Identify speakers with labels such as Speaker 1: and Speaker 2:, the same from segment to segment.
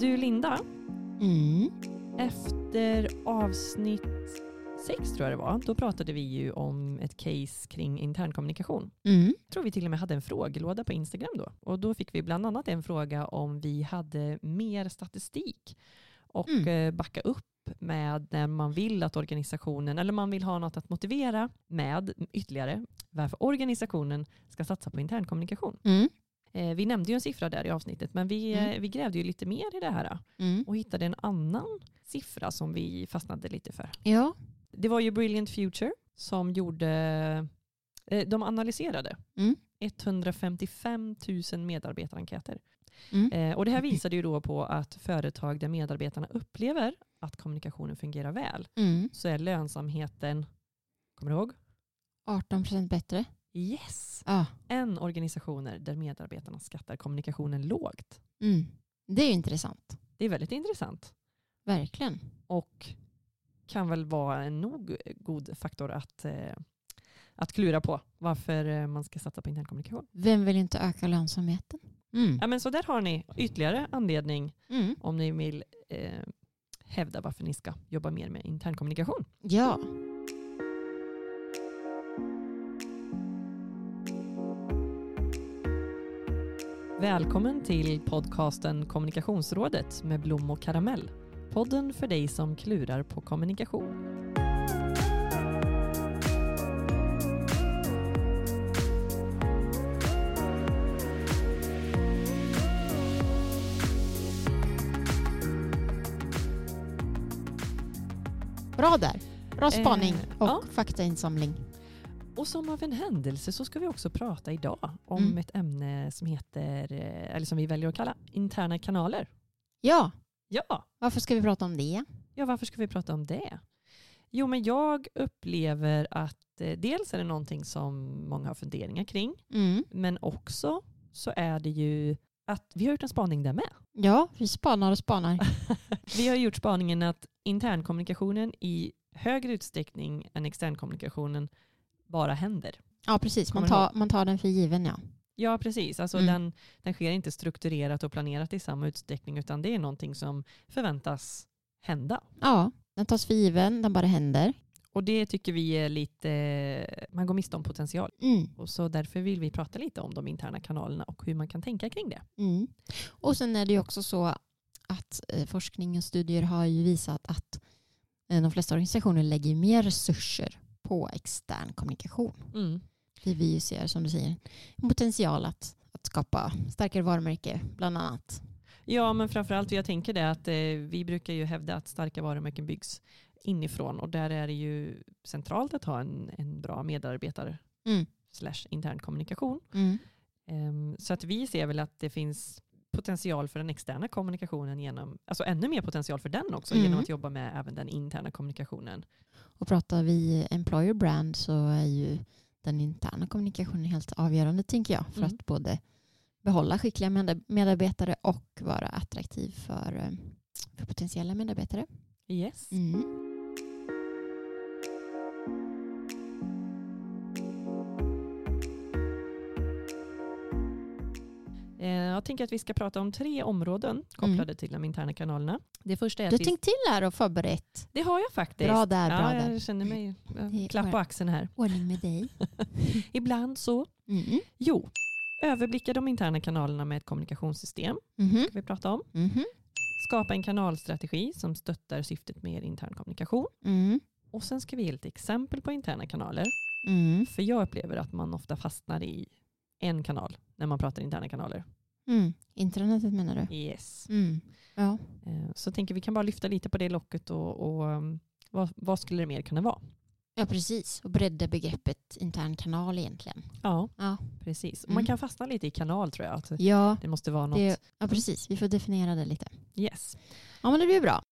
Speaker 1: Du Linda,
Speaker 2: Mm.
Speaker 1: efter avsnitt sex tror jag det var, då pratade vi ju om ett case kring internkommunikation.
Speaker 2: Mm.
Speaker 1: Jag tror vi till och med hade en frågelåda på Instagram då. Och då fick vi bland annat en fråga om vi hade mer statistik och
Speaker 2: Mm.
Speaker 1: eh, backa upp med när man vill att organisationen, eller man vill ha något att motivera med ytterligare, varför organisationen ska satsa på internkommunikation.
Speaker 2: Mm.
Speaker 1: Eh, vi nämnde ju en siffra där i avsnittet, men vi,
Speaker 2: Mm.
Speaker 1: eh, vi grävde ju lite mer i det här.
Speaker 2: Mm.
Speaker 1: och hittade en annan siffra som vi fastnade lite för.
Speaker 2: Ja.
Speaker 1: Det var ju Brilliant Future som gjorde, eh, de analyserade
Speaker 2: Mm.
Speaker 1: 155 000 medarbetarenkäter.
Speaker 2: Mm.
Speaker 1: Eh, Och det här visade ju då på att företag där medarbetarna upplever att kommunikationen fungerar väl
Speaker 2: Mm.
Speaker 1: så är lönsamheten, kommer du ihåg?
Speaker 2: 18 procent bättre.
Speaker 1: Yes!
Speaker 2: Ja.
Speaker 1: Än organisationer där medarbetarna skattar kommunikationen lågt.
Speaker 2: Mm. Det är ju intressant.
Speaker 1: Det är väldigt intressant.
Speaker 2: Verkligen.
Speaker 1: och kan väl vara en nog god faktor att, eh, att klura på varför eh, man ska satsa på internkommunikation.
Speaker 2: Vem vill inte öka lönsamheten? Mm.
Speaker 1: Ja, men så där har ni ytterligare anledning
Speaker 2: Mm.
Speaker 1: om ni vill eh, hävda varför ni ska jobba mer med internkommunikation.
Speaker 2: Ja.
Speaker 1: Välkommen till podcasten Kommunikationsrådet med Blom och Karamell. Podden för dig som klurar på kommunikation.
Speaker 2: Bra där. Bra spaning
Speaker 1: Eh,
Speaker 2: och
Speaker 1: ja.
Speaker 2: faktainsamling.
Speaker 1: Och som av en händelse så ska vi också prata idag om
Speaker 2: Mm.
Speaker 1: ett ämne som heter, eh, eller som vi väljer att kalla interna kanaler.
Speaker 2: Ja.
Speaker 1: Ja,
Speaker 2: Varför ska vi prata om det?
Speaker 1: Ja, varför ska vi prata om det? Jo, men jag upplever att eh, dels är det någonting som många har funderingar kring,
Speaker 2: Mm.
Speaker 1: men också så är det ju att vi har gjort en spaning där med.
Speaker 2: Ja, vi spanar och spanar.
Speaker 1: Vi har gjort spaningen att internkommunikationen i högre utsträckning än externkommunikationen bara händer.
Speaker 2: Ja, precis. Man
Speaker 1: Kommer
Speaker 2: tar, man tar den för given, ja.
Speaker 1: Ja, precis. Alltså
Speaker 2: Mm.
Speaker 1: den, den sker inte strukturerat och planerat i samma utsträckning, utan det är någonting som förväntas hända.
Speaker 2: Ja, den tas för given, den bara händer.
Speaker 1: Och det tycker vi är lite, man går miste om potential.
Speaker 2: Mm.
Speaker 1: Och så därför vill vi prata lite om de interna kanalerna och hur man kan tänka kring det.
Speaker 2: Mm. Och sen är det ju också så att eh, forskning och studier har ju visat att eh, de flesta organisationer lägger mer resurser på extern kommunikation. Det vi ju ser, som du säger, en potential att, att skapa starkare varumärke bland annat.
Speaker 1: Ja, men framförallt jag tänker det att eh, vi brukar ju hävda att starka varumärken byggs inifrån och där är det ju centralt att ha en, en bra medarbetare
Speaker 2: Mm.
Speaker 1: slash intern kommunikation. Ehm, så att vi ser väl att det finns potential för den externa kommunikationen genom, alltså ännu mer potential för den också
Speaker 2: Mm.
Speaker 1: genom att jobba med även den interna kommunikationen.
Speaker 2: Och pratar vi employer brand så är ju den interna kommunikationen helt avgörande tänker jag för
Speaker 1: Mm.
Speaker 2: att både behålla skickliga medar- medarbetare och vara attraktiv för, eh, för potentiella medarbetare.
Speaker 1: Yes.
Speaker 2: Mm.
Speaker 1: Eh, jag tänker att vi ska prata om tre områden kopplade
Speaker 2: Mm.
Speaker 1: till de interna kanalerna. Det första är
Speaker 2: Du har
Speaker 1: att vi
Speaker 2: tänkt till här och förberett.
Speaker 1: Det har jag faktiskt.
Speaker 2: Bra där, bra
Speaker 1: ja,
Speaker 2: där.
Speaker 1: jag känner mig
Speaker 2: Det
Speaker 1: eh,
Speaker 2: är
Speaker 1: klapp på
Speaker 2: skönt.
Speaker 1: axeln här.
Speaker 2: Ordning med dig.
Speaker 1: Ibland så.
Speaker 2: Mm.
Speaker 1: Jo, överblicka de interna kanalerna med ett kommunikationssystem.
Speaker 2: Mhm.
Speaker 1: Ska vi prata om.
Speaker 2: Mhm.
Speaker 1: Skapa en kanalstrategi som stöttar syftet med er intern kommunikation.
Speaker 2: Mm.
Speaker 1: Och sen ska vi ge lite exempel på interna kanaler.
Speaker 2: Mm.
Speaker 1: För jag upplever att man ofta fastnar i en kanal när man pratar interna kanaler.
Speaker 2: Mm. Intranetet menar du?
Speaker 1: Yes.
Speaker 2: Mm. Ja.
Speaker 1: Eh, Så tänker vi kan bara lyfta lite på det locket och, och um, vad, vad skulle det mer kunna vara?
Speaker 2: ja, precis. Och bredda begreppet intern kanal egentligen.
Speaker 1: Ja,
Speaker 2: Ja.
Speaker 1: precis. Och Man
Speaker 2: Mm.
Speaker 1: kan fastna lite i kanal tror jag. Att
Speaker 2: Ja,
Speaker 1: det måste vara något.
Speaker 2: det, ja, precis. Vi får definiera det lite.
Speaker 1: Yes.
Speaker 2: Ja, men det blir bra.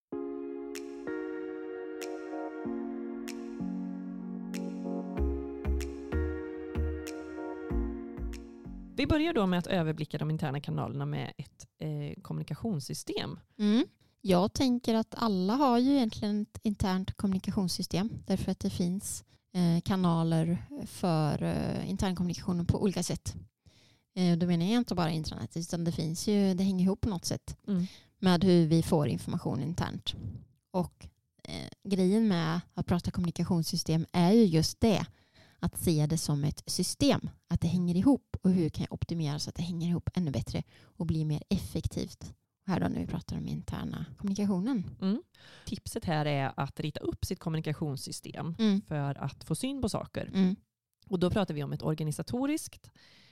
Speaker 1: Vi börjar då med att överblicka de interna kanalerna med ett eh, kommunikationssystem.
Speaker 2: Mm. Jag tänker att alla har ju egentligen ett internt kommunikationssystem därför att det finns eh, kanaler för eh, internkommunikationen på olika sätt. Eh, då menar jag inte bara intranät utan det finns ju, det hänger ihop på något sätt. med hur vi får information internt. Och eh, grejen med att prata kommunikationssystem är ju just det. Att se det som ett system, att det hänger ihop och hur kan jag optimera så att det hänger ihop ännu bättre och blir mer effektivt. Och här då när vi pratar om interna kommunikationen.
Speaker 1: Mm. Tipset här är att rita upp sitt kommunikationssystem
Speaker 2: Mm.
Speaker 1: för att få syn på saker.
Speaker 2: Mm.
Speaker 1: Och då pratar vi om ett organisatoriskt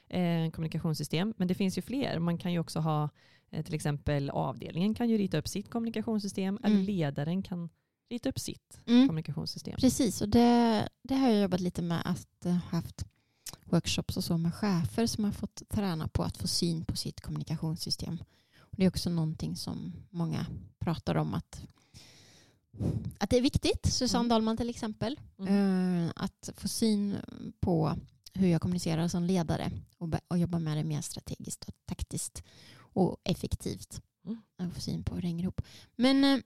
Speaker 1: eh, kommunikationssystem, men det finns ju fler. Man kan ju också ha eh, till exempel avdelningen kan ju rita upp sitt kommunikationssystem eller
Speaker 2: Mm.
Speaker 1: ledaren kan rita upp sitt
Speaker 2: Mm.
Speaker 1: kommunikationssystem.
Speaker 2: Precis, och det, det har jag jobbat lite med att eh, haft workshops och så med chefer som har fått träna på att få syn på sitt kommunikationssystem. Och det är också någonting som många pratar om att, att det är viktigt. Susanne
Speaker 1: Mm.
Speaker 2: Dahlman till exempel. eh, Att få syn på hur jag kommunicerar som ledare och, be- och jobba med det mer strategiskt och taktiskt och effektivt.
Speaker 1: Mm.
Speaker 2: Att få syn på hur det hänger ihop. Men eh,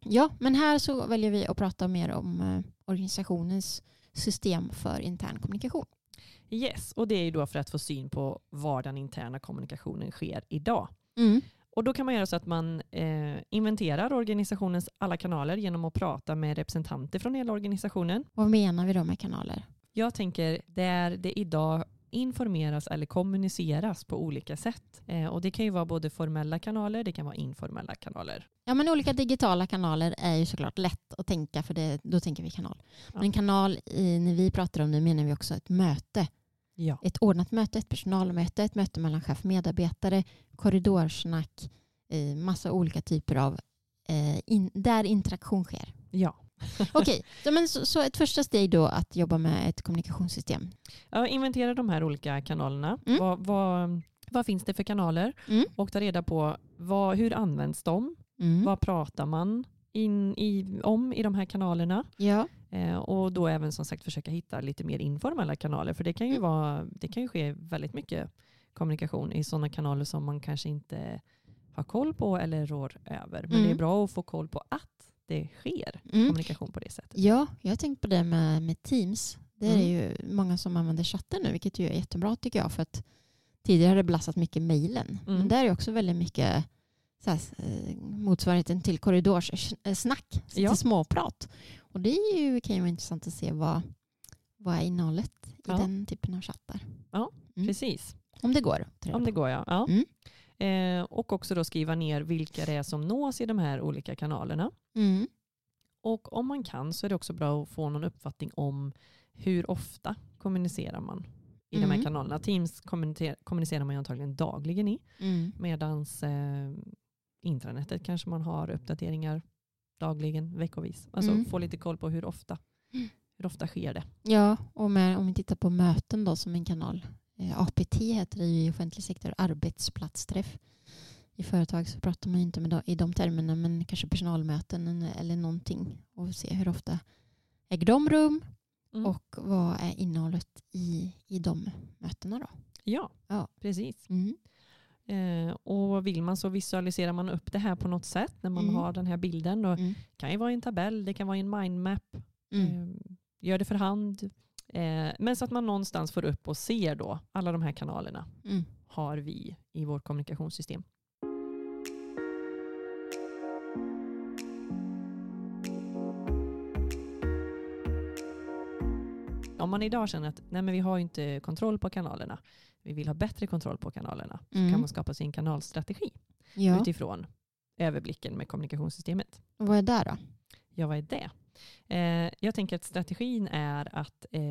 Speaker 2: Ja, men här så väljer vi att prata mer om eh, organisationens system för intern kommunikation.
Speaker 1: Yes, och det är ju då för att få syn på var den interna kommunikationen sker idag. Och då kan man göra så att man eh, inventerar organisationens alla kanaler genom att prata med representanter från hela organisationen.
Speaker 2: Vad menar vi då med kanaler?
Speaker 1: Jag tänker där det idag informeras eller kommuniceras på olika sätt. Eh, och det kan ju vara både formella kanaler, det kan vara informella kanaler.
Speaker 2: Ja, men olika digitala kanaler är ju såklart lätt att tänka för det, då tänker vi kanal.
Speaker 1: Ja.
Speaker 2: Men kanal, i, när vi pratar om det menar vi också ett möte.
Speaker 1: Ja.
Speaker 2: Ett ordnat möte, ett personalmöte, ett möte mellan chef och medarbetare, korridorsnack, eh, massa olika typer av eh, in, där interaktion sker.
Speaker 1: ja.
Speaker 2: Okej, så, men så, så ett första steg då att jobba med ett kommunikationssystem.
Speaker 1: Ja, inventera de här olika kanalerna.
Speaker 2: Mm.
Speaker 1: Vad, vad, vad finns det för kanaler?
Speaker 2: Mm.
Speaker 1: Och ta reda på vad, hur används de?
Speaker 2: Mm.
Speaker 1: Vad pratar man in i, om i de här kanalerna?
Speaker 2: Ja.
Speaker 1: Eh, och då även som sagt försöka hitta lite mer informella kanaler. För det kan ju,
Speaker 2: Mm.
Speaker 1: vara, det kan ju ske väldigt mycket kommunikation i sådana kanaler som man kanske inte har koll på eller rår över. Men det är
Speaker 2: Mm.
Speaker 1: bra att få koll på att det sker
Speaker 2: Mm.
Speaker 1: kommunikation på det sättet.
Speaker 2: Ja, jag har tänkt på det med, med Teams. Det är
Speaker 1: Mm.
Speaker 2: ju många som använder chatten nu, vilket ju är jättebra tycker jag. För att tidigare har det blastat mycket mejlen.
Speaker 1: Mm.
Speaker 2: Men där är också väldigt mycket så här, eh, motsvarigheten till korridorssnack,
Speaker 1: Ja.
Speaker 2: till småprat. Och det är ju, kan ju vara intressant att se vad, vad är innehållet i
Speaker 1: Ja.
Speaker 2: den typen av chattar. Mm.
Speaker 1: Precis,
Speaker 2: Om det går. att ta reda
Speaker 1: om det går ja. ja.
Speaker 2: Mm.
Speaker 1: Eh, och också då skriva ner vilka det är som nås i de här olika kanalerna.
Speaker 2: på. Mm.
Speaker 1: Och om man kan så är det också bra att få någon uppfattning om hur ofta kommunicerar man i de här
Speaker 2: Mm.
Speaker 1: kanalerna. Teams kommunicer- kommunicerar man ju antagligen dagligen i
Speaker 2: Mm.
Speaker 1: medan eh, intranetet kanske man har uppdateringar dagligen, veckovis. Alltså
Speaker 2: Mm.
Speaker 1: få lite koll på hur ofta,
Speaker 2: Mm.
Speaker 1: hur ofta sker det.
Speaker 2: Ja, och med, om vi tittar på möten då som en kanal. Eh, APT heter det ju i offentlig sektor, arbetsplatsträff. I företag så pratar man ju inte med de, i de termerna, men kanske personalmöten en- eller någonting. Och se hur ofta äger de rum
Speaker 1: Mm.
Speaker 2: och vad är innehållet i, i de mötena då.
Speaker 1: Ja,
Speaker 2: Ja.
Speaker 1: precis.
Speaker 2: Mm.
Speaker 1: Eh, och vill man så visualiserar man upp det här på något sätt när man
Speaker 2: Mm.
Speaker 1: har den här bilden. Och
Speaker 2: Mm.
Speaker 1: Det kan ju vara i en tabell, det kan vara i en mindmap.
Speaker 2: Mm.
Speaker 1: Eh, Gör det för hand. Eh, Men så att man någonstans får upp och ser då alla de här kanalerna
Speaker 2: Mm.
Speaker 1: har vi i vårt kommunikationssystem. Om man idag känner att nej men vi har ju inte kontroll på kanalerna, vi vill ha bättre kontroll på kanalerna,
Speaker 2: Mm.
Speaker 1: kan man skapa sin kanalstrategi
Speaker 2: Ja,
Speaker 1: utifrån överblicken med kommunikationssystemet.
Speaker 2: och vad är det då?
Speaker 1: Ja, vad är det? Eh, jag tänker att strategin är att eh,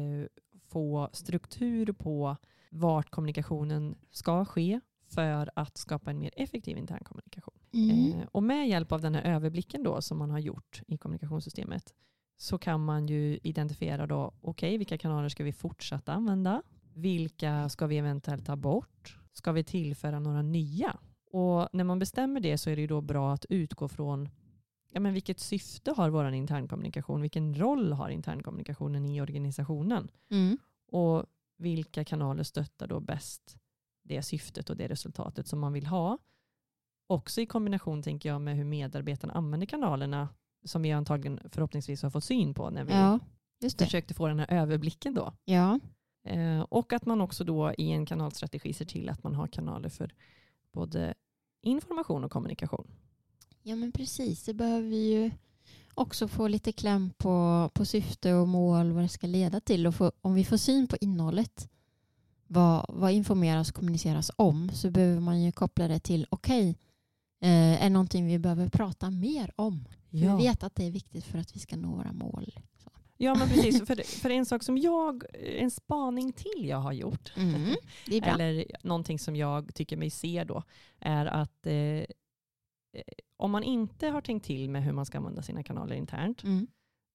Speaker 1: få struktur på vart kommunikationen ska ske för att skapa en mer effektiv intern kommunikation.
Speaker 2: Mm.
Speaker 1: Eh, och med hjälp av den här överblicken då som man har gjort i kommunikationssystemet så kan man ju identifiera då, okej, vilka kanaler ska vi fortsätta använda? Vilka ska vi eventuellt ta bort? Ska vi tillföra några nya? Och när man bestämmer det så är det ju då bra att utgå från ja, men vilket syfte har vår internkommunikation? Vilken roll har internkommunikationen i organisationen?
Speaker 2: Mm.
Speaker 1: Och vilka kanaler stöttar då bäst det syftet och det resultatet som man vill ha? Också i kombination tänker jag med hur medarbetarna använder kanalerna som vi antagligen förhoppningsvis har fått syn på när vi
Speaker 2: Ja, just det.
Speaker 1: försökte få den här överblicken då.
Speaker 2: Ja.
Speaker 1: Eh, och att man också då i en kanalstrategi ser till att man har kanaler för både information och kommunikation.
Speaker 2: Ja men precis, det behöver vi ju också få lite kläm på, på syfte och mål, vad det ska leda till. Och få, om vi får syn på innehållet, vad, vad informeras och kommuniceras om, så behöver man ju koppla det till, okej, eh, är någonting vi behöver prata mer om? För
Speaker 1: Ja.
Speaker 2: Vi vet att det är viktigt för att vi ska nå våra mål.
Speaker 1: Ja men precis, för, för en sak som jag, en spaning till jag har gjort,
Speaker 2: Mm, det är bra.
Speaker 1: eller någonting som jag tycker mig se då, är att eh, eh, om man inte har tänkt till med hur man ska använda sina kanaler internt
Speaker 2: Mm,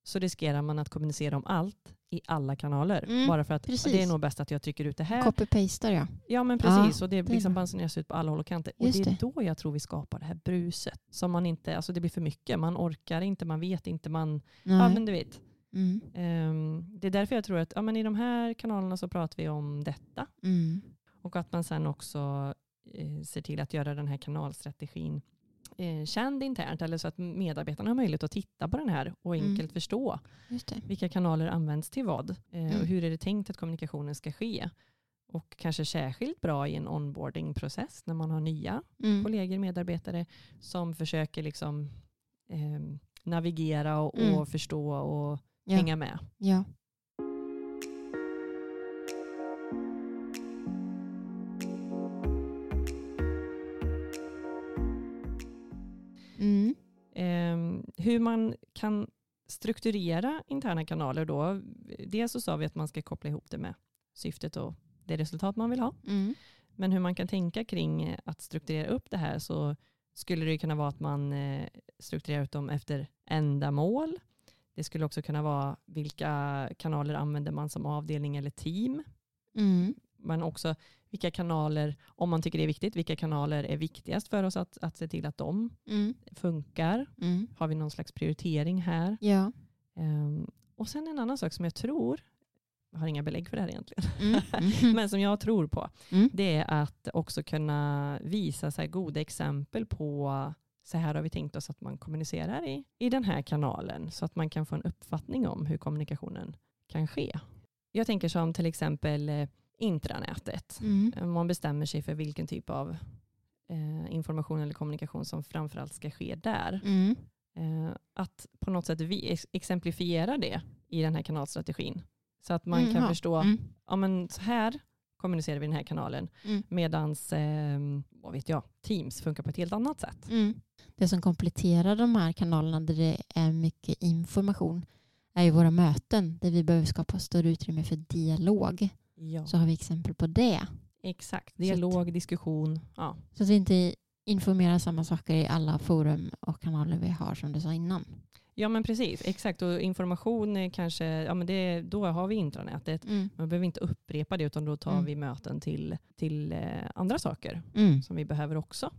Speaker 1: så riskerar man att kommunicera om allt i alla kanaler.
Speaker 2: Mm,
Speaker 1: bara för att
Speaker 2: precis.
Speaker 1: det är nog bäst att jag trycker ut det här.
Speaker 2: Copy-pastar ja.
Speaker 1: ja men
Speaker 2: Ja,
Speaker 1: precis, och det
Speaker 2: det är
Speaker 1: liksom
Speaker 2: bra.
Speaker 1: basuneras ut på alla håll och kanter. Och
Speaker 2: Just
Speaker 1: det är
Speaker 2: det.
Speaker 1: då jag tror vi skapar det här bruset. Som man inte, alltså det blir för mycket, man orkar inte, man vet inte, man, ja
Speaker 2: Nej.
Speaker 1: men du vet.
Speaker 2: Mm,
Speaker 1: Ehm, det är därför jag tror att ja, men i de här kanalerna så pratar vi om detta.
Speaker 2: mm,
Speaker 1: Och att man sen också eh, ser till att göra den här kanalstrategin eh, känd internt. Eller så att medarbetarna har möjlighet att titta på den här och
Speaker 2: Mm.
Speaker 1: enkelt förstå
Speaker 2: just det.
Speaker 1: vilka kanaler används till vad. Eh,
Speaker 2: Mm.
Speaker 1: Och hur är det tänkt att kommunikationen ska ske. Och kanske särskilt bra i en onboardingprocess när man har nya
Speaker 2: Mm,
Speaker 1: kollegor, medarbetare som försöker liksom, ehm, navigera och,
Speaker 2: Mm.
Speaker 1: och förstå och
Speaker 2: Ja.
Speaker 1: hänga med.
Speaker 2: ja. Mm,
Speaker 1: Ehm, hur man kan strukturera interna kanaler då. Dels så sa vi att man ska koppla ihop det med syftet och det resultat man vill ha.
Speaker 2: mm,
Speaker 1: Men hur man kan tänka kring att strukturera upp det här så skulle det ju kunna vara att man eh, strukturerar ut dem efter ändamål. Det skulle också kunna vara vilka kanaler använder man som avdelning eller team.
Speaker 2: mm,
Speaker 1: Men också vilka kanaler, om man tycker det är viktigt, vilka kanaler är viktigast för oss att, att se till att de
Speaker 2: mm,
Speaker 1: funkar.
Speaker 2: mm.
Speaker 1: Har vi någon slags prioritering här?
Speaker 2: Ja.
Speaker 1: Ehm, och sen en annan sak som jag tror, jag har inga belägg för det här egentligen,
Speaker 2: Mm.
Speaker 1: men som jag tror på,
Speaker 2: Mm.
Speaker 1: det är att också kunna visa så här goda exempel på så här har vi tänkt oss att man kommunicerar i, i den här kanalen så att man kan få en uppfattning om hur kommunikationen kan ske. Jag tänker som till exempel eh, intranätet.
Speaker 2: Mm.
Speaker 1: Om Man bestämmer sig för vilken typ av eh, information eller kommunikation som framförallt ska ske där.
Speaker 2: Mm.
Speaker 1: Eh, att på något sätt vi ex- exemplifiera det i den här kanalstrategin. Så att man
Speaker 2: Mm,
Speaker 1: kan
Speaker 2: ja.
Speaker 1: förstå,
Speaker 2: Mm.
Speaker 1: ja men så här kommunicerar vi den här kanalen.
Speaker 2: Mm.
Speaker 1: Medans, eh, vad vet jag, Teams funkar på ett helt annat sätt.
Speaker 2: Mm. Det som kompletterar de här kanalerna där det är mycket information är ju våra möten där vi behöver skapa större utrymme för dialog.
Speaker 1: Ja.
Speaker 2: Så har vi exempel på det.
Speaker 1: Exakt, dialog, diskussion. Ja.
Speaker 2: Så att vi inte informerar samma saker i alla forum och kanaler vi har som du sa innan.
Speaker 1: ja men precis, exakt. Och information är kanske, ja men det, då har vi intranätet.
Speaker 2: Mm.
Speaker 1: Man behöver inte upprepa det utan då tar
Speaker 2: Mm.
Speaker 1: vi möten till, till eh, andra saker
Speaker 2: Mm.
Speaker 1: som vi behöver också.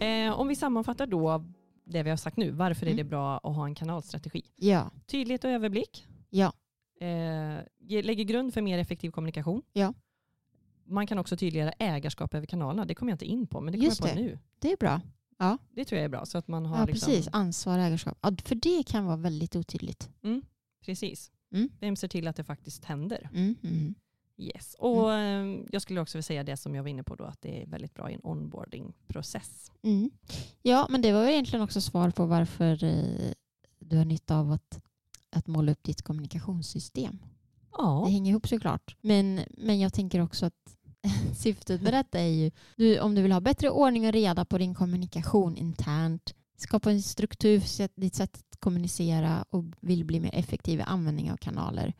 Speaker 1: Eh, om vi sammanfattar då det vi har sagt nu, varför är det
Speaker 2: Mm.
Speaker 1: bra att ha en kanalstrategi?
Speaker 2: Ja.
Speaker 1: Tydlighet och överblick,
Speaker 2: ja.
Speaker 1: eh, ge- lägger grund för mer effektiv kommunikation.
Speaker 2: Ja.
Speaker 1: Man kan också tydligare ägarskap över kanalerna, det kommer jag inte in på, men det kommer
Speaker 2: Just
Speaker 1: jag på
Speaker 2: det.
Speaker 1: nu.
Speaker 2: det är bra.
Speaker 1: Det tror jag är bra, så att man har
Speaker 2: Ja,
Speaker 1: liksom,
Speaker 2: precis. Ansvar och ägarskap. Ja, för det kan vara väldigt otydligt.
Speaker 1: precis.
Speaker 2: Mm.
Speaker 1: Vem ser till att det faktiskt händer?
Speaker 2: Mm. Mm.
Speaker 1: Yes. Och eh, jag skulle också vilja säga det som jag var inne på då, att det är väldigt bra i en onboardingprocess.
Speaker 2: Mm. Ja, men det var väl egentligen också svar på varför eh, du har nytta av att, att måla upp ditt kommunikationssystem. Det
Speaker 1: Ja.
Speaker 2: hänger ihop såklart. Men, men jag tänker också att syftet med detta är ju, du, om du vill ha bättre ordning och reda på din kommunikation internt, skapa en struktur för sätt- ditt sätt att kommunicera och vill bli mer effektiv i användning av kanaler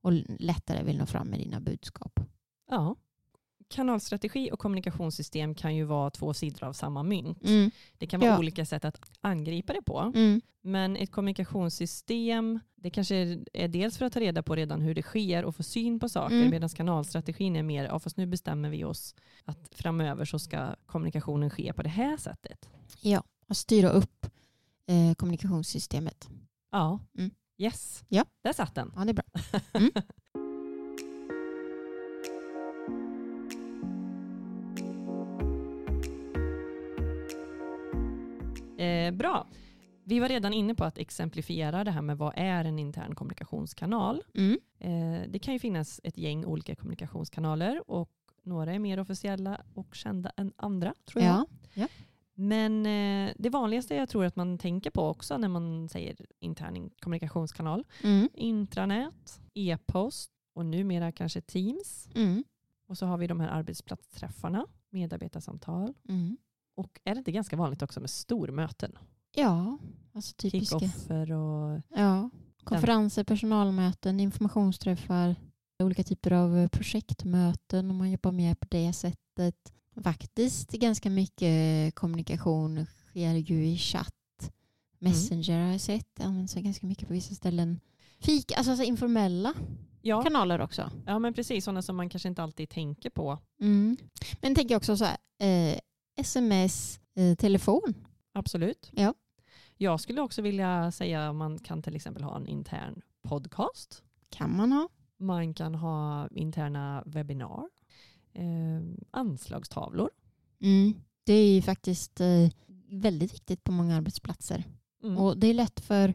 Speaker 2: och l- lättare vill nå fram med dina budskap.
Speaker 1: ja. Kanalstrategi och kommunikationssystem kan ju vara två sidor av samma mynt.
Speaker 2: Mm,
Speaker 1: Det kan vara
Speaker 2: Ja.
Speaker 1: olika sätt att angripa det på.
Speaker 2: mm,
Speaker 1: Men ett kommunikationssystem, det kanske är dels för att ta reda på redan hur det sker och få syn på saker,
Speaker 2: Mm.
Speaker 1: medan kanalstrategin är mer, ja fast nu bestämmer vi oss att framöver så ska kommunikationen ske på det här sättet.
Speaker 2: ja, och styra upp eh, kommunikationssystemet.
Speaker 1: Ja,
Speaker 2: Mm.
Speaker 1: yes,
Speaker 2: Ja.
Speaker 1: där satt den.
Speaker 2: Ja, det är bra.
Speaker 1: Eh, bra. Vi var redan inne på att exemplifiera det här med vad är en intern kommunikationskanal.
Speaker 2: Mm.
Speaker 1: Eh, Det kan ju finnas ett gäng olika kommunikationskanaler och några är mer officiella och kända än andra. tror jag.
Speaker 2: Ja.
Speaker 1: Men eh, det vanligaste jag tror att man tänker på också när man säger intern kommunikationskanal,
Speaker 2: Mm.
Speaker 1: intranät, e-post och numera kanske Teams.
Speaker 2: Mm.
Speaker 1: Och så har vi de här arbetsplatsträffarna, medarbetarsamtal.
Speaker 2: Mm.
Speaker 1: Och är det inte ganska vanligt också med stormöten?
Speaker 2: Ja, alltså typiska.
Speaker 1: Kickoffer och
Speaker 2: Ja. Konferenser, personalmöten, informationsträffar, olika typer av eh, projektmöten om man jobbar mer på det sättet. Faktiskt ganska mycket eh, kommunikation sker ju i chatt. Messenger har jag sett, används ganska mycket på vissa ställen. Fik, alltså, alltså informella
Speaker 1: Ja,
Speaker 2: kanaler också.
Speaker 1: ja men precis, sådana som man kanske inte alltid tänker på.
Speaker 2: Mm. Men tänk också så här, eh, sms, eh, telefon.
Speaker 1: Absolut.
Speaker 2: Ja.
Speaker 1: Jag skulle också vilja säga att man kan till exempel ha en intern podcast.
Speaker 2: Kan man ha.
Speaker 1: Man kan ha interna webbinar. Eh, anslagstavlor.
Speaker 2: Mm. Det är ju faktiskt eh, väldigt viktigt på många arbetsplatser.
Speaker 1: Mm.
Speaker 2: Och det är lätt för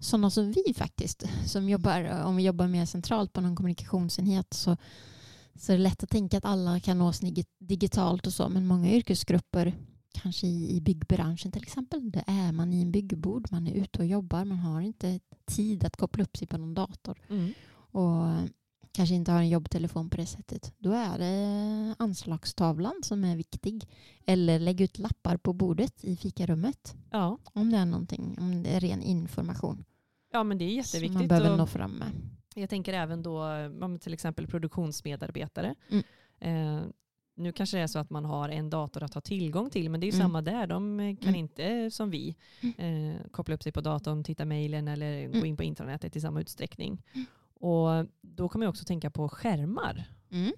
Speaker 2: sådana som vi faktiskt, som jobbar, eh, om vi jobbar mer centralt på någon kommunikationsenhet så, så är det lätt att tänka att alla kan nås nigi- digitalt och så, men många yrkesgrupper, kanske i, i byggbranschen till exempel, det är man i en byggbord, man är ute och jobbar, man har inte tid att koppla upp sig på någon dator
Speaker 1: Mm.
Speaker 2: och eh, kanske inte har en jobbtelefon på det sättet. Då är det eh, anslagstavlan som är viktig. Eller lägg ut lappar på bordet i fikarummet.
Speaker 1: Ja.
Speaker 2: Om det är någonting, om det är ren information
Speaker 1: ja, men det är
Speaker 2: som
Speaker 1: jätteviktigt.
Speaker 2: man behöver
Speaker 1: Och
Speaker 2: nå fram med.
Speaker 1: Jag tänker även då ja, men till exempel produktionsmedarbetare.
Speaker 2: Mm.
Speaker 1: Eh, nu kanske det är så att man har en dator att ha tillgång till, men det är ju
Speaker 2: Mm.
Speaker 1: samma där. De eh, kan
Speaker 2: Mm.
Speaker 1: inte eh, som vi eh, koppla upp sig på datorn, titta mejlen eller
Speaker 2: Mm.
Speaker 1: gå in på intranätet i samma utsträckning. Och då kommer jag också tänka på skärmar.
Speaker 2: Mm.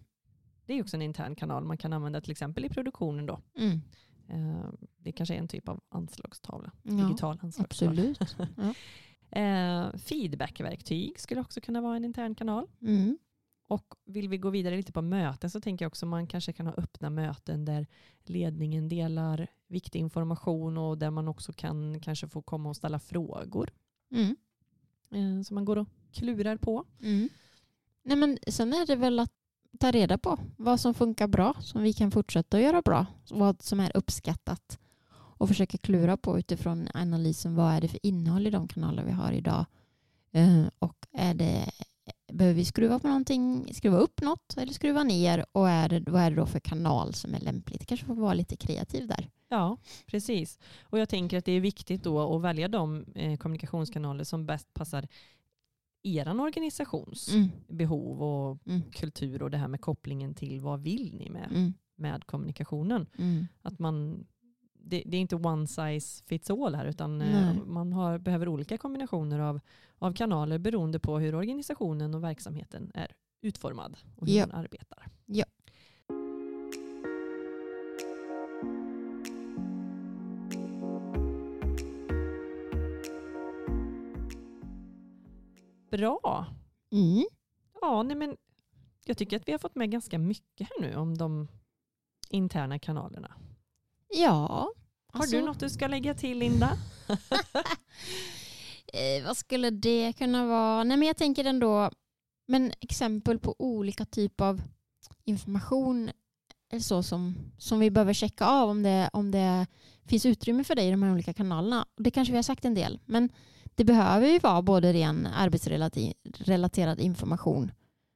Speaker 1: Det är ju också en intern kanal man kan använda till exempel i produktionen. Då.
Speaker 2: Mm.
Speaker 1: Eh, det kanske är en typ av anslagstavla.
Speaker 2: Ja,
Speaker 1: digital anslagstavla.
Speaker 2: absolut.
Speaker 1: Eh, feedbackverktyg skulle också kunna vara en intern kanal.
Speaker 2: Mm.
Speaker 1: Och vill vi gå vidare lite på möten så tänker jag också man kanske kan ha öppna möten där ledningen delar viktig information och där man också kan kanske få komma och ställa frågor
Speaker 2: Mm.
Speaker 1: eh, som man går och klurar på.
Speaker 2: Mm. Nej, men sen är det väl att ta reda på vad som funkar bra, som vi kan fortsätta att göra bra, vad som är uppskattat och försöka klura på utifrån analysen vad är det för innehåll i de kanaler vi har idag Eh, och är det, behöver vi skruva på någonting, skruva upp något eller skruva ner och är det, vad är det då för kanal som är lämpligt? Kanske får vara lite kreativ där.
Speaker 1: Ja, precis. Och jag tänker att det är viktigt då att välja de eh, kommunikationskanaler som bäst passar er organisations
Speaker 2: Mm.
Speaker 1: behov och
Speaker 2: Mm.
Speaker 1: kultur och det här med kopplingen till vad vill ni med,
Speaker 2: Mm.
Speaker 1: med kommunikationen.
Speaker 2: Mm.
Speaker 1: Att man, det, det är inte one size fits all här utan eh,
Speaker 2: Nej.
Speaker 1: man har, behöver olika kombinationer av, av kanaler beroende på hur organisationen och verksamheten är utformad och hur
Speaker 2: Ja.
Speaker 1: man arbetar.
Speaker 2: Ja.
Speaker 1: Bra.
Speaker 2: Mm.
Speaker 1: Ja, nej men jag tycker att vi har fått med ganska mycket här nu om de interna kanalerna.
Speaker 2: Ja.
Speaker 1: Har
Speaker 2: alltså-
Speaker 1: du något du ska lägga till Linda?
Speaker 2: Eh, vad skulle det kunna vara? Nej, men jag tänker ändå, men exempel på olika typer av information eller så som, som vi behöver checka av om det, om det finns utrymme för det i de här olika kanalerna. Och Det kanske vi har sagt en del, men det behöver ju vara både ren arbetsrelaterad information,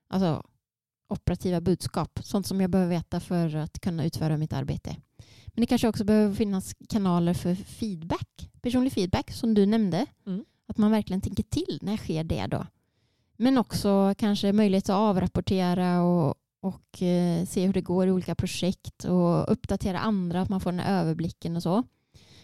Speaker 2: alltså operativa budskap, sånt som jag behöver veta för att kunna utföra mitt arbete. Men det kanske också behöver finnas kanaler för feedback, personlig feedback som du nämnde.
Speaker 1: Mm.
Speaker 2: Att man verkligen tänker till när sker det då. Men också kanske möjlighet att avrapportera och, och eh, se hur det går i olika projekt och uppdatera andra, att man får den här överblicken och så.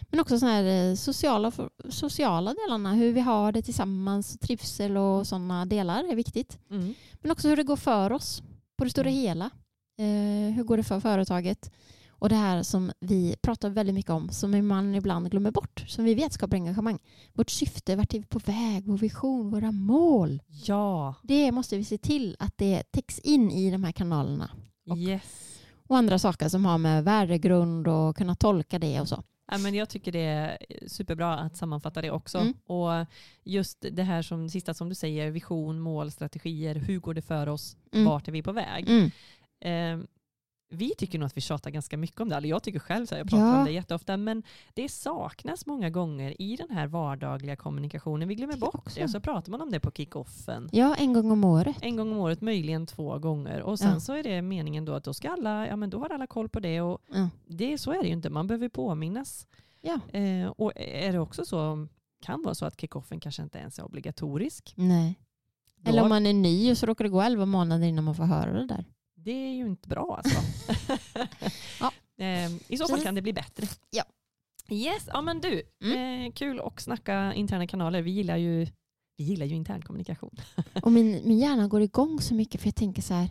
Speaker 2: Men också såna här eh, sociala, sociala delarna, hur vi har det tillsammans, trivsel och sådana delar är viktigt.
Speaker 1: Mm.
Speaker 2: Men också hur det går för oss på det stora hela. Eh, hur går det för företaget? Och det här som vi pratar väldigt mycket om, som man ibland glömmer bort, som vi vet skapar engagemang. Vårt syfte, vart är vi på väg, vår vision, våra mål.
Speaker 1: Ja,
Speaker 2: Det måste vi se till att det täcks in i de här kanalerna. Och-
Speaker 1: yes.
Speaker 2: och andra saker som har med värdegrund och kunna tolka det och så.
Speaker 1: Ja, men jag tycker det är superbra att sammanfatta det också.
Speaker 2: Mm.
Speaker 1: Och just det här som det sista som du säger, vision, mål, strategier, hur går det för oss,
Speaker 2: Mm.
Speaker 1: vart är vi på väg?
Speaker 2: Mm.
Speaker 1: Eh, vi tycker nog att vi tjatar ganska mycket om det, eller jag tycker själv så här, jag pratar
Speaker 2: Ja.
Speaker 1: om det jätteofta, men det saknas många gånger i den här vardagliga kommunikationen. Vi glömmer
Speaker 2: Det
Speaker 1: bort
Speaker 2: också.
Speaker 1: det och så pratar man om det på kickoffen.
Speaker 2: Ja, en gång om året.
Speaker 1: En gång om året, möjligen två gånger. Och sen
Speaker 2: Ja.
Speaker 1: så är det meningen då att då ska alla, ja men då har alla koll på det och
Speaker 2: Ja.
Speaker 1: det, så är det ju inte, man behöver påminnas.
Speaker 2: Ja.
Speaker 1: Eh, och är det också så, kan vara så att kickoffen kanske inte ens är obligatorisk.
Speaker 2: Nej. Eller
Speaker 1: Då-
Speaker 2: om man är ny och så råkar det gå elva månader innan man får höra det där.
Speaker 1: Det är ju inte bra alltså.
Speaker 2: Ja.
Speaker 1: Ehm, I så fall
Speaker 2: Precis.
Speaker 1: kan det bli bättre.
Speaker 2: Ja. Mm.
Speaker 1: Yes, ja men du, eh, kul att snacka interna kanaler. Vi gillar ju, vi gillar ju intern kommunikation.
Speaker 2: Och min, min hjärna går igång så mycket för jag tänker så här,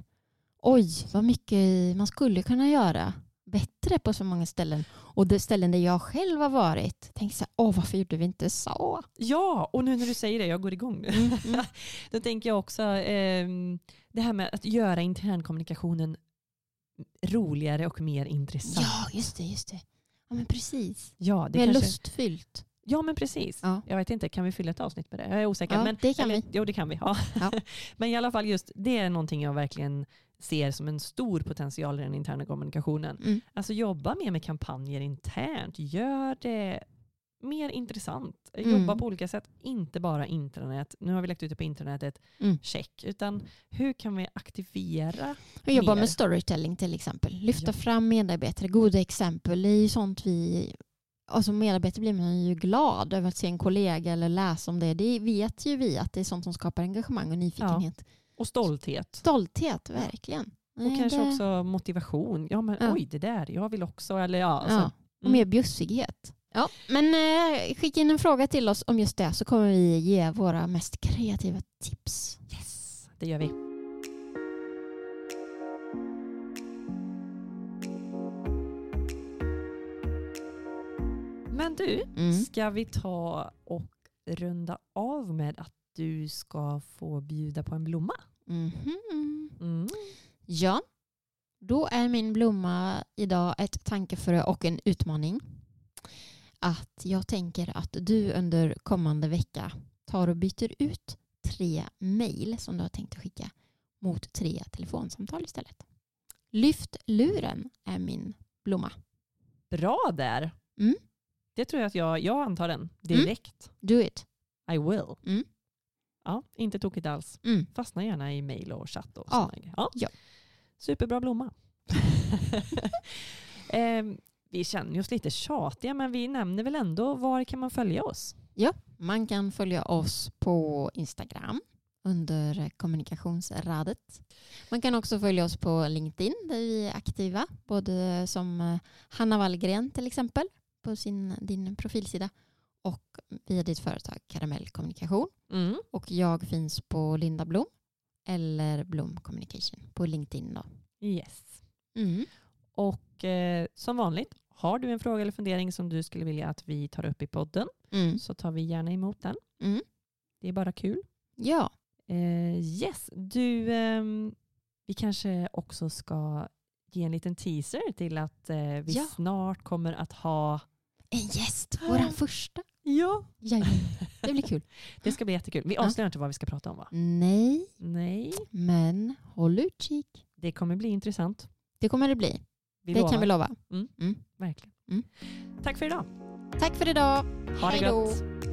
Speaker 2: oj vad mycket man skulle kunna göra bättre på så många ställen. Och de ställen där jag själv har varit, tänker så här, åh varför gjorde vi inte så?
Speaker 1: Ja, och nu när du säger det, jag går igång nu.
Speaker 2: Mm,
Speaker 1: Då tänker jag också ehm, det här med att göra internkommunikationen roligare och mer intressant.
Speaker 2: Ja, just det, just det. Ja men precis.
Speaker 1: ja
Speaker 2: Det
Speaker 1: det
Speaker 2: är
Speaker 1: kanske,
Speaker 2: lustfyllt.
Speaker 1: ja men precis.
Speaker 2: Ja.
Speaker 1: Jag vet inte, kan vi fylla ett avsnitt med det? Jag är osäker.
Speaker 2: Ja,
Speaker 1: men,
Speaker 2: det kan vi.
Speaker 1: Jo, det kan vi. Ja.
Speaker 2: Ja.
Speaker 1: men i alla fall just det är någonting jag verkligen ser som en stor potential i den interna kommunikationen.
Speaker 2: Mm.
Speaker 1: Alltså jobba mer med kampanjer internt. Gör det mer intressant.
Speaker 2: Mm.
Speaker 1: Jobba på olika sätt. Inte bara intranät. Nu har vi lagt ut det på intranätet.
Speaker 2: Mm.
Speaker 1: Check. Utan hur kan vi aktivera?
Speaker 2: Jag jobbar
Speaker 1: mer.
Speaker 2: med storytelling till exempel. Lyfta
Speaker 1: Ja.
Speaker 2: fram medarbetare, goda exempel. Det är ju sånt vi... Och som medarbetare blir man ju glad över att se en kollega eller läsa om det. Det vet ju vi att det är sånt som skapar engagemang och nyfikenhet.
Speaker 1: Och stolthet.
Speaker 2: Stolthet, verkligen.
Speaker 1: Och
Speaker 2: Nej,
Speaker 1: kanske
Speaker 2: det-
Speaker 1: också motivation. Ja men
Speaker 2: Ja.
Speaker 1: oj det där, jag vill också. Eller ja,
Speaker 2: ja.
Speaker 1: alltså,
Speaker 2: Och mer bjussighet. Ja, men eh, skicka in en fråga till oss om just det så kommer vi ge våra mest kreativa tips.
Speaker 1: Yes, det gör vi. Men du,
Speaker 2: Mm.
Speaker 1: ska vi ta och runda av med att du ska få bjuda på en blomma?
Speaker 2: Mhm.
Speaker 1: Mm.
Speaker 2: Ja, då är min blomma idag ett tankefrö och en utmaning. Att jag tänker att du under kommande vecka tar och byter ut tre mejl som du har tänkt att skicka mot tre telefonsamtal istället. Lyft luren är min blomma.
Speaker 1: Bra där!
Speaker 2: Mm.
Speaker 1: Det tror jag att jag, jag antar den direkt.
Speaker 2: Do it.
Speaker 1: I will.
Speaker 2: Mm.
Speaker 1: Ja, inte tokigt alls.
Speaker 2: Mm.
Speaker 1: Fastna gärna i mejl och chatt. Och
Speaker 2: Ja.
Speaker 1: såna grejer.
Speaker 2: Ja.
Speaker 1: Superbra blomma. Ehm, vi känner oss lite tjatiga men vi nämner väl ändå var kan man följa oss?
Speaker 2: Man kan följa oss på Instagram under kommunikationsradet. Man kan också följa oss på LinkedIn där vi är aktiva. Både som eh, Hanna Wallgren till exempel på sin, din profilsida och via ditt företag Karamell Kommunikation.
Speaker 1: Mm.
Speaker 2: Och jag finns på Linda Blom eller Blom Communication på LinkedIn. Då. Mm.
Speaker 1: Yes. Och eh, som vanligt, har du en fråga eller fundering som du skulle vilja att vi tar upp i podden
Speaker 2: Mm.
Speaker 1: så tar vi gärna emot den.
Speaker 2: Mm.
Speaker 1: Det är bara kul.
Speaker 2: Ja,
Speaker 1: Eh, yes, du, ehm, vi kanske också ska ge en liten teaser till att eh, vi
Speaker 2: Ja.
Speaker 1: snart kommer att ha...
Speaker 2: en gäst, vår första.
Speaker 1: Ja.
Speaker 2: Jajamän. Det blir kul.
Speaker 1: Det ska bli jättekul. Vi
Speaker 2: Ja.
Speaker 1: avslöjar inte vad vi ska prata om va?
Speaker 2: Nej,
Speaker 1: Nej,
Speaker 2: men håll utkik.
Speaker 1: det kommer bli intressant.
Speaker 2: Det kommer det bli.
Speaker 1: Vi
Speaker 2: det
Speaker 1: lovar.
Speaker 2: kan vi lova.
Speaker 1: Mm. Verkligen.
Speaker 2: Mm.
Speaker 1: Tack för idag.
Speaker 2: Tack för idag.
Speaker 1: Ha
Speaker 2: Hej
Speaker 1: det
Speaker 2: då.
Speaker 1: gott.